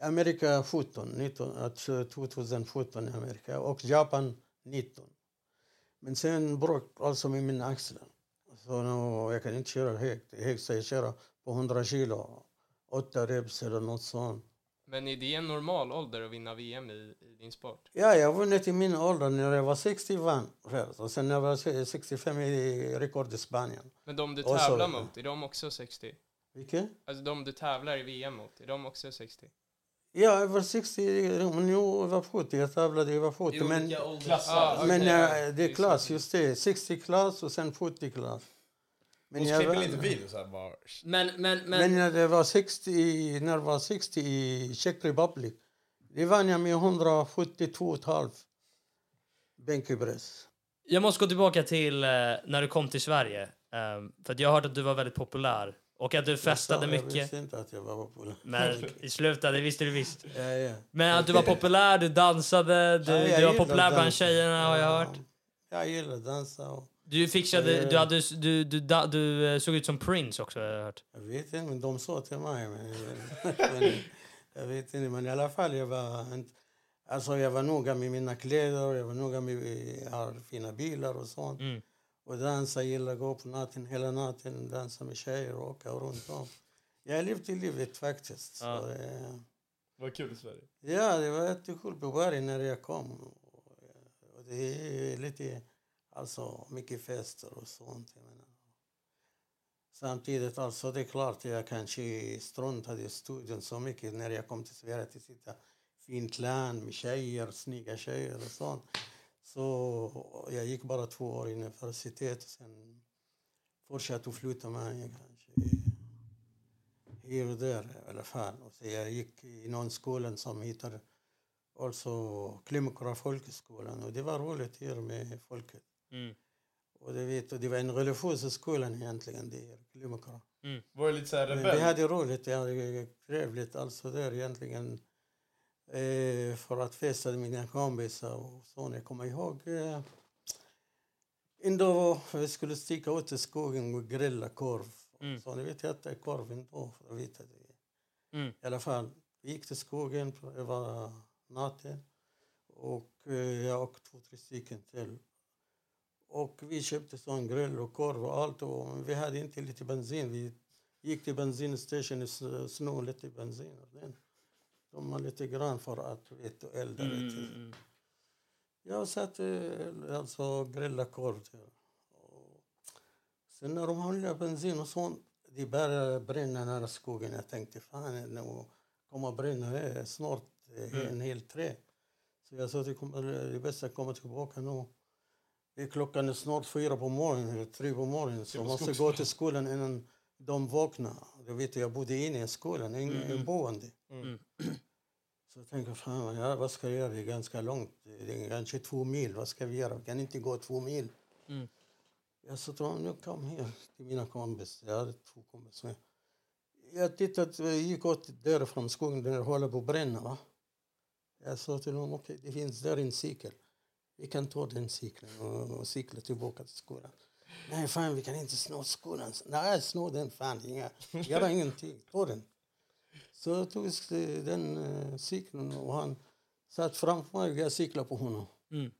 S6: Amerika 17, 19, alltså 2017 i Amerika och Japan 19. Men sen bråk alltså med mina axlar. Så nu, jag kan inte köra högt. Högst jag köra på 100 kilo, 8 reps eller något sånt.
S5: men är det en normal ålder att vinna VM i, i din sport?
S6: Ja, jag har vunnit i min ålder. När jag var 60 vann först. Och sen när jag var 65 i rekord i Spanien.
S5: Men de du
S6: Och så-
S5: tävlar mot, är de också 60?
S6: Vilket?
S5: Alltså de du tävlar i VM mot, är de också 60?
S6: Ja, över 60, men nu över 70. Jag tävlade över 70. Men,
S4: Klassar.
S5: Ah, okej.
S6: men eh, det är
S5: Just
S6: klass, just det. 60 klass och sen 70 klass.
S4: Hon skrev väl
S6: vann-
S4: inte video såhär bara...
S3: Men, men, men...
S6: men när det var 60, när det var 60 i Czech Republic, det vann jag med 172,5 bänkpress.
S3: Jag måste gå tillbaka till eh, när du kom till Sverige. Ehm, för att jag har hört att du var väldigt populär. Och att du festade
S6: Jag
S3: mycket.
S6: visste inte att jag var populär.
S3: Men i slutet, det visste du visst.
S6: (laughs) Ja, ja.
S3: Men
S6: (laughs)
S3: att du var populär, du dansade, du,
S6: Ja, jag
S3: du var
S6: gillar
S3: populär bland
S6: dans.
S3: tjejerna har jag hört.
S6: Jag gillar att dansa. Och
S3: Du
S6: Ja,
S3: fixade,
S6: ja,
S3: du,
S6: ja.
S3: hade, du, du, da- du eh, såg ut som Prince också har jag hört.
S6: jag vet inte, men de sa till mig. Men, men, (laughs) jag vet inte, men i alla fall jag var, inte, alltså jag var noga med mina kläder, jag var noga med eh, har fina bilar och sånt.
S3: Mm.
S6: Och dansa, gillar gå på natten hela natten, dansa med tjejer och åka runt om. Jag levde livet faktiskt.
S3: Ja.
S6: Så, eh,
S4: Vad kul i Sverige.
S6: Ja, det var jättekul på baren när jag kom. Och det är lite, alltså mycket fester och sånt. Jag menar. Samtidigt, alltså det är klart jag kanske struntade i studion så mycket när jag kom till Sverige att sitta i fint land med tjejer, snygga tjejer och sånt. Så jag gick bara två år i universitet och sen fortsatte att flytta mig kanske Här och där i alla fall. Och så jag gick i någon skola som heter alltså Klimakra folkhögskolan och det var roligt här med folket.
S3: Mm.
S6: Och du vet, och det var en religiös skola egentligen, det här Klimakra.
S4: Var du lite såhär
S6: Men
S4: rebell?
S6: vi hade roligt, vi hade trevligt alltså där egentligen. Eh, för att festa med mina kompisar och så. Jag kommer ihåg eh, en dag vi skulle sticka ut i skogen och grilla korv.
S3: Mm.
S6: Så ni vet, jag äter korv ändå. För jag vet att det.
S3: Mm.
S6: I alla fall, vi gick till skogen över natten. Och eh, jag och två, tre stycken till. Och vi köpte sån grill och korv och allt. Och vi hade inte lite bensin. Vi gick till bensinstationen och sn- snor lite bensin. av den. De har lite grann för att du vet, elda lite. Jag satt eh, alltså grilla korv där. Och Sen när de handlade bensin och sånt, det började brinna nära skogen. Jag tänkte fan, det kommer brinna här snart eh, en hel trä. Så jag sa att det, kommer, det är bäst att komma tillbaka nu. Det är klockan är snart fyra på morgonen, eller tre på morgonen. Så jag måste gå till skolan innan de vaknar. Du vet, jag bodde inne i skolan, in, boende. (clears throat) Så jag tänker, fan, vad jag- vad ska jag göra? Det är ganska långt. Det är kanske två mil. Vad ska vi göra? Vi kan inte gå två mil.
S3: Mm.
S6: Jag sa till honom, jag kom här till mina kompisar. Jag hade två kompisar med. Jag tittade, jag gick åt därifrån skogen, den håller på att bränna. Va? Jag sa till honom, okej, det finns där en cykel. Vi kan ta den cykeln och, och cykla tillbaka till skolan. Nej, fan, vi kan inte sno skolan. Nej, sno den fan. Inga, göra ingenting. Ta den. Så jag tog eh, den eh, cykeln och han satt framför mig och jag cyklade på honom.
S3: Mm.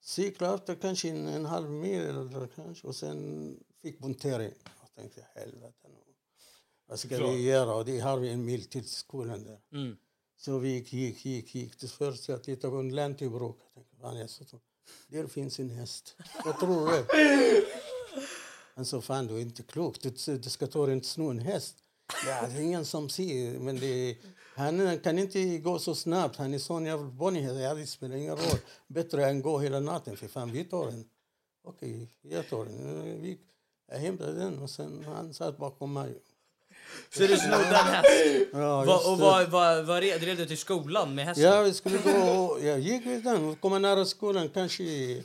S6: Cyklade efter kanske en, en halv mil eller kanske och sen fick punktering. Jag tänkte helvete nu. Vad ska
S4: Klart.
S6: vi göra? Och det har vi en mil till skolan där.
S3: Mm.
S6: Så vi gick, gick, gick, gick. Till först jag tittade på en lantbruk. Jag tänkte, fan jag satt och- där finns en häst. Vad tror du? Han sa, fan du är inte klok. Du, du ska ta inte sno en häst. Ja, det är ingen som ser. Men det, han kan inte gå så snabbt. Han är sån jävla bonnyhäst. Ja, det spelar ingen roll. Bättre än gå hela natten. För fan, vi tar den. Okej, jag tar den. Vi, jag hämtade den och sen han satt bakom mig.
S3: Så du snodde en häst?
S6: Ja,
S3: Va,
S6: just
S3: och
S6: det.
S3: vad var, var, drev du till skolan med hästen?
S6: Ja, vi skulle gå... Jag gick vid den. Vi kom nära skolan, kanske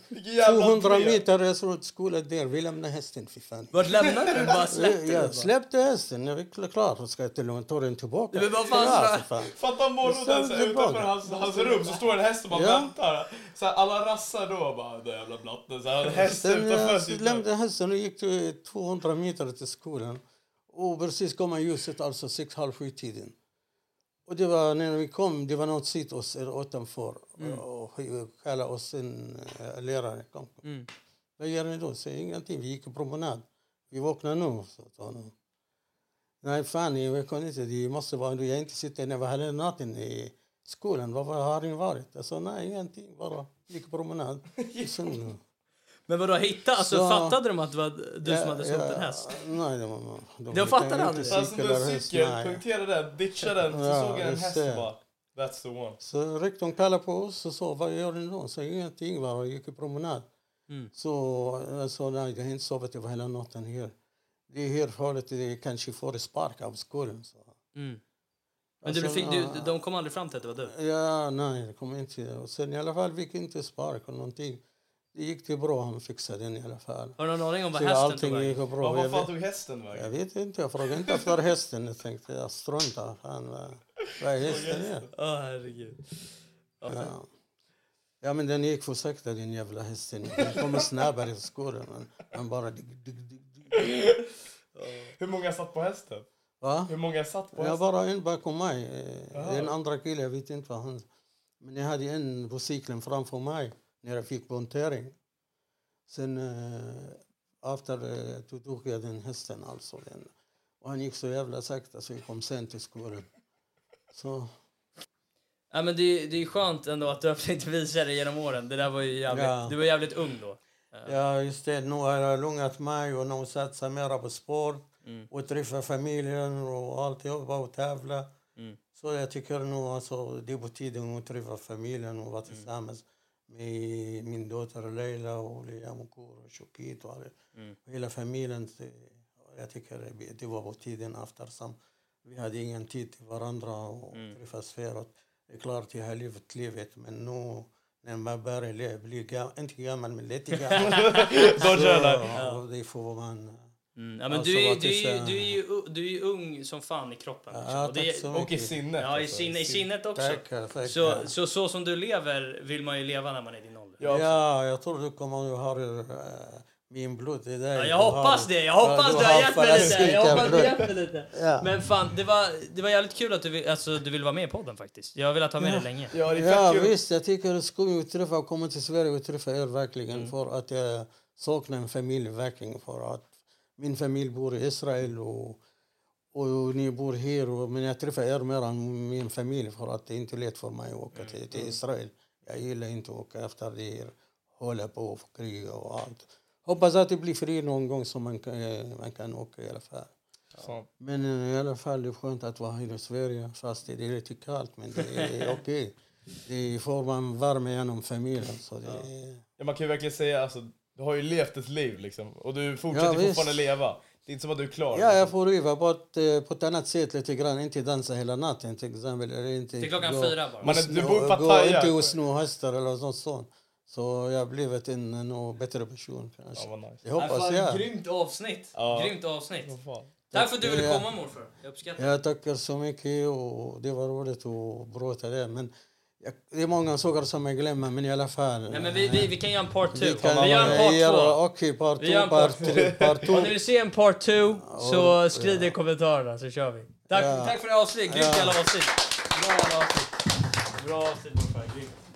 S4: jävla
S6: 200
S4: brev.
S6: meter. Jag tror att skolan där. Vi lämnade hästen, för fan.
S3: Vart lämnade du den? Bara släppte du den? bara?
S6: Jag släppte hästen. Jag är klar. Jag ska till och med ta den tillbaka.
S3: Men vad fan,
S6: Ja,
S3: så-
S6: för fan.
S4: Fatta morgonen
S6: Jag
S4: så
S6: sa
S4: här,
S6: tillbaka.
S4: utanför hans, hans rum så står en häst och bara
S6: Ja.
S4: väntar. Så här, alla rassar då bara, den jävla blatten. Så här, en häst
S6: Sen
S4: utanför
S6: jag
S4: sitt rum.
S6: lämnade hästen och gick till 200 meter till skolan. Och precis kom ljuset, alltså sex, halv sju tiden. Och det var när vi kom, det var någon sitt oss eller utanför och och kallade oss en eh, lärare. Kom, kom.
S3: Mm.
S6: Vad gör ni då? Säger ingenting. Vi gick en promenad. Vi vaknar nu, sa jag till honom. Nej, fan, jag kan inte. Det måste vara... Jag inte sitter när jag var hela natten i skolan. Var var har ni varit? Jag sa nej, ingenting. Bara gick promenad. Sen,
S3: Men vadå, hitta, alltså,
S6: Så-
S3: fattade de att det var du som hade snott en häst?
S6: Nej, de, de, de,
S3: Jag fattar
S6: kan ju
S3: aldrig.
S6: inte
S4: Fast
S6: cykla
S4: Alltså, du
S6: eller häst,
S4: cykel,
S6: nej.
S4: punktera den, ditcha den, så
S6: Ja,
S4: såg jag en
S6: just
S4: häst
S6: det.
S4: och bara, that's the one.
S6: Så rektorn kallade på oss och sa vad gör ni då? Så ingenting, bara gick i promenad.
S3: Mm.
S6: Så jag sa nej, jag har inte sovit över hela natten här. Det är här farligt, det kanske får spark av skolan. Så.
S3: Mm. Men du,
S6: Alltså,
S3: fick, du,
S6: ja.
S3: de kom aldrig fram till att det var du?
S6: Ja, nej, det kom inte. Och sen i alla fall fick inte spark och någonting. Det gick till bra, han fixade den i alla fall.
S3: Har du någon aning om vad
S6: Så
S3: hästen tog
S6: allting gick
S3: vägen?
S6: bra.
S4: Vad
S6: Jag
S4: vad fan
S6: vet,
S4: tog hästen
S6: jag
S4: vägen?
S6: vet inte, jag frågade inte efter hästen. Jag tänkte, jag struntar. Fan, vad, vad är hästen? Är?
S3: Åh herregud.
S6: Ja. ja, men den gick för sakta, den jävla hästen. Den kommer snabbare i skolan. Men den bara... Dig, dig, dig, dig.
S4: Hur många satt på hästen?
S6: Va?
S4: Hur många satt på
S6: Jag
S4: hästen?
S6: bara en bakom mig. Eh, En andra kille, jag vet inte vad han... Men jag hade en på cykeln framför mig när jag fick punktering. Sen eh, efter eh, då tog jag den hästen alltså. Den. Och han gick så jävla sakta så jag kom sent till skolan. Så,
S3: Ja, men det, är- det är skönt ändå att du har försökt visa dig genom åren. Det där var ju jävligt,
S6: Ja.
S3: Du var jävligt ung då. Mm,
S6: ja just det, nu har jag lugnat mig och nu satsar jag mera på sport. och träffa familjen och alltihopa och tävla.
S3: Mm.
S6: Så jag tycker nog alltså, det är på tiden att träffa familjen och vara tillsammans med min dotter Leila och Liam och Kor och Shokit och alla- hela familjen. Det- Jag tycker det- det var på tiden eftersom Vi hade ingen tid till varandra och träffas förut. Det är klart, jag har levt livet, men nu när man börjar le- bli gammal, inte gammal, men lite gammal.
S4: Då jävlar.
S6: så, det får man...
S3: Mm. Ja, men
S6: Alltså,
S3: du, är,
S6: vad
S3: du,
S6: det
S3: är,
S6: så-
S3: du, är ju, u- du är ju ung som fan i kroppen. liksom.
S6: Ja,
S3: Och det
S6: tack
S3: är-
S6: så
S4: Och i
S6: mycket.
S4: sinnet.
S3: Ja, i,
S4: alltså.
S3: sinne, i sinnet också.
S6: Tackar, tackar.
S3: Så, så så som du lever vill man ju leva när man är din ålder.
S4: Ja,
S6: Ja, jag tror du kommer att ha eh, min blod i dig.
S3: Ja,
S6: Du
S3: jag hoppas
S6: har-
S3: det. Jag hoppas
S6: du
S3: du
S6: har
S3: har hjälpt mig lite. Jag hoppas du har
S6: parasitarblod.
S3: hjälpt mig lite.
S6: Ja.
S3: Men fan, det var, det var jävligt kul att du, vill- alltså, du ville vara med i podden faktiskt. Jag har velat ha med dig länge.
S4: Ja, det
S6: Ja,
S4: är fett kul.
S6: visst. Jag tycker det ska vi träffa och komma till Sverige och träffa er verkligen
S4: Mm.
S6: för att jag saknar en familj verkligen för att min familj bor i Israel och, och ni bor här och, men jag träffar er mer än min familj för att det är inte lätt för mig att åka
S4: Mm,
S6: till, till Israel. Jag gillar inte att åka efter det här, hålla på och kriga och allt. Hoppas att det blir fri någon gång så man kan, eh, man kan åka i alla fall.
S4: Så.
S6: Men eh, i alla fall, det är skönt att vara här i Sverige. Fast det är lite kallt, men det
S4: (laughs)
S6: är okej. Det får man värme genom familjen. Så det är...
S4: Ja, man kan ju verkligen säga alltså, du har ju levt ett liv liksom. Och du
S6: Ja,
S4: fortsätter
S6: visst.
S4: fortfarande leva. Det är inte som att du är klar.
S6: Ja, jag får riva bort eh, på ett annat sätt lite grann. Inte dansa hela natten till exempel. Eller inte
S3: Till klockan
S6: gå-
S3: fyra bara.
S4: Man är, du bor i
S6: Gå
S4: Pattaya.
S6: inte och sno hästar eller något sånt. Så jag har blivit en, en nog bättre person kanske.
S4: Ja, vad nice.
S6: Det hoppas
S3: fan,
S6: jag.
S3: Grymt avsnitt.
S4: Ja.
S3: Grymt avsnitt.
S4: Vad fan.
S3: Tack för att du ville
S6: Ja.
S3: komma morfar. Jag uppskattar det.
S6: Jag tackar så mycket och det var roligt att prata det. Men jag, det är många saker som jag glömmer, men i alla fall.
S3: Nej, men vi, vi, vi kan göra en part 2.
S6: Vi kan
S3: Vi gör en part 2.
S6: göra, okej, part
S3: Vi gör
S6: två,
S3: en part
S6: part
S3: två.
S6: tre, part två.
S3: Om ni vill se en part 2 så skriv det i kommentarerna så kör vi. Tack,
S6: Ja.
S3: tack för det här avsnittet. Grymt jävla avsnitt. Bra jävla avsnitt. Bra avsnitt morfar. Grymt.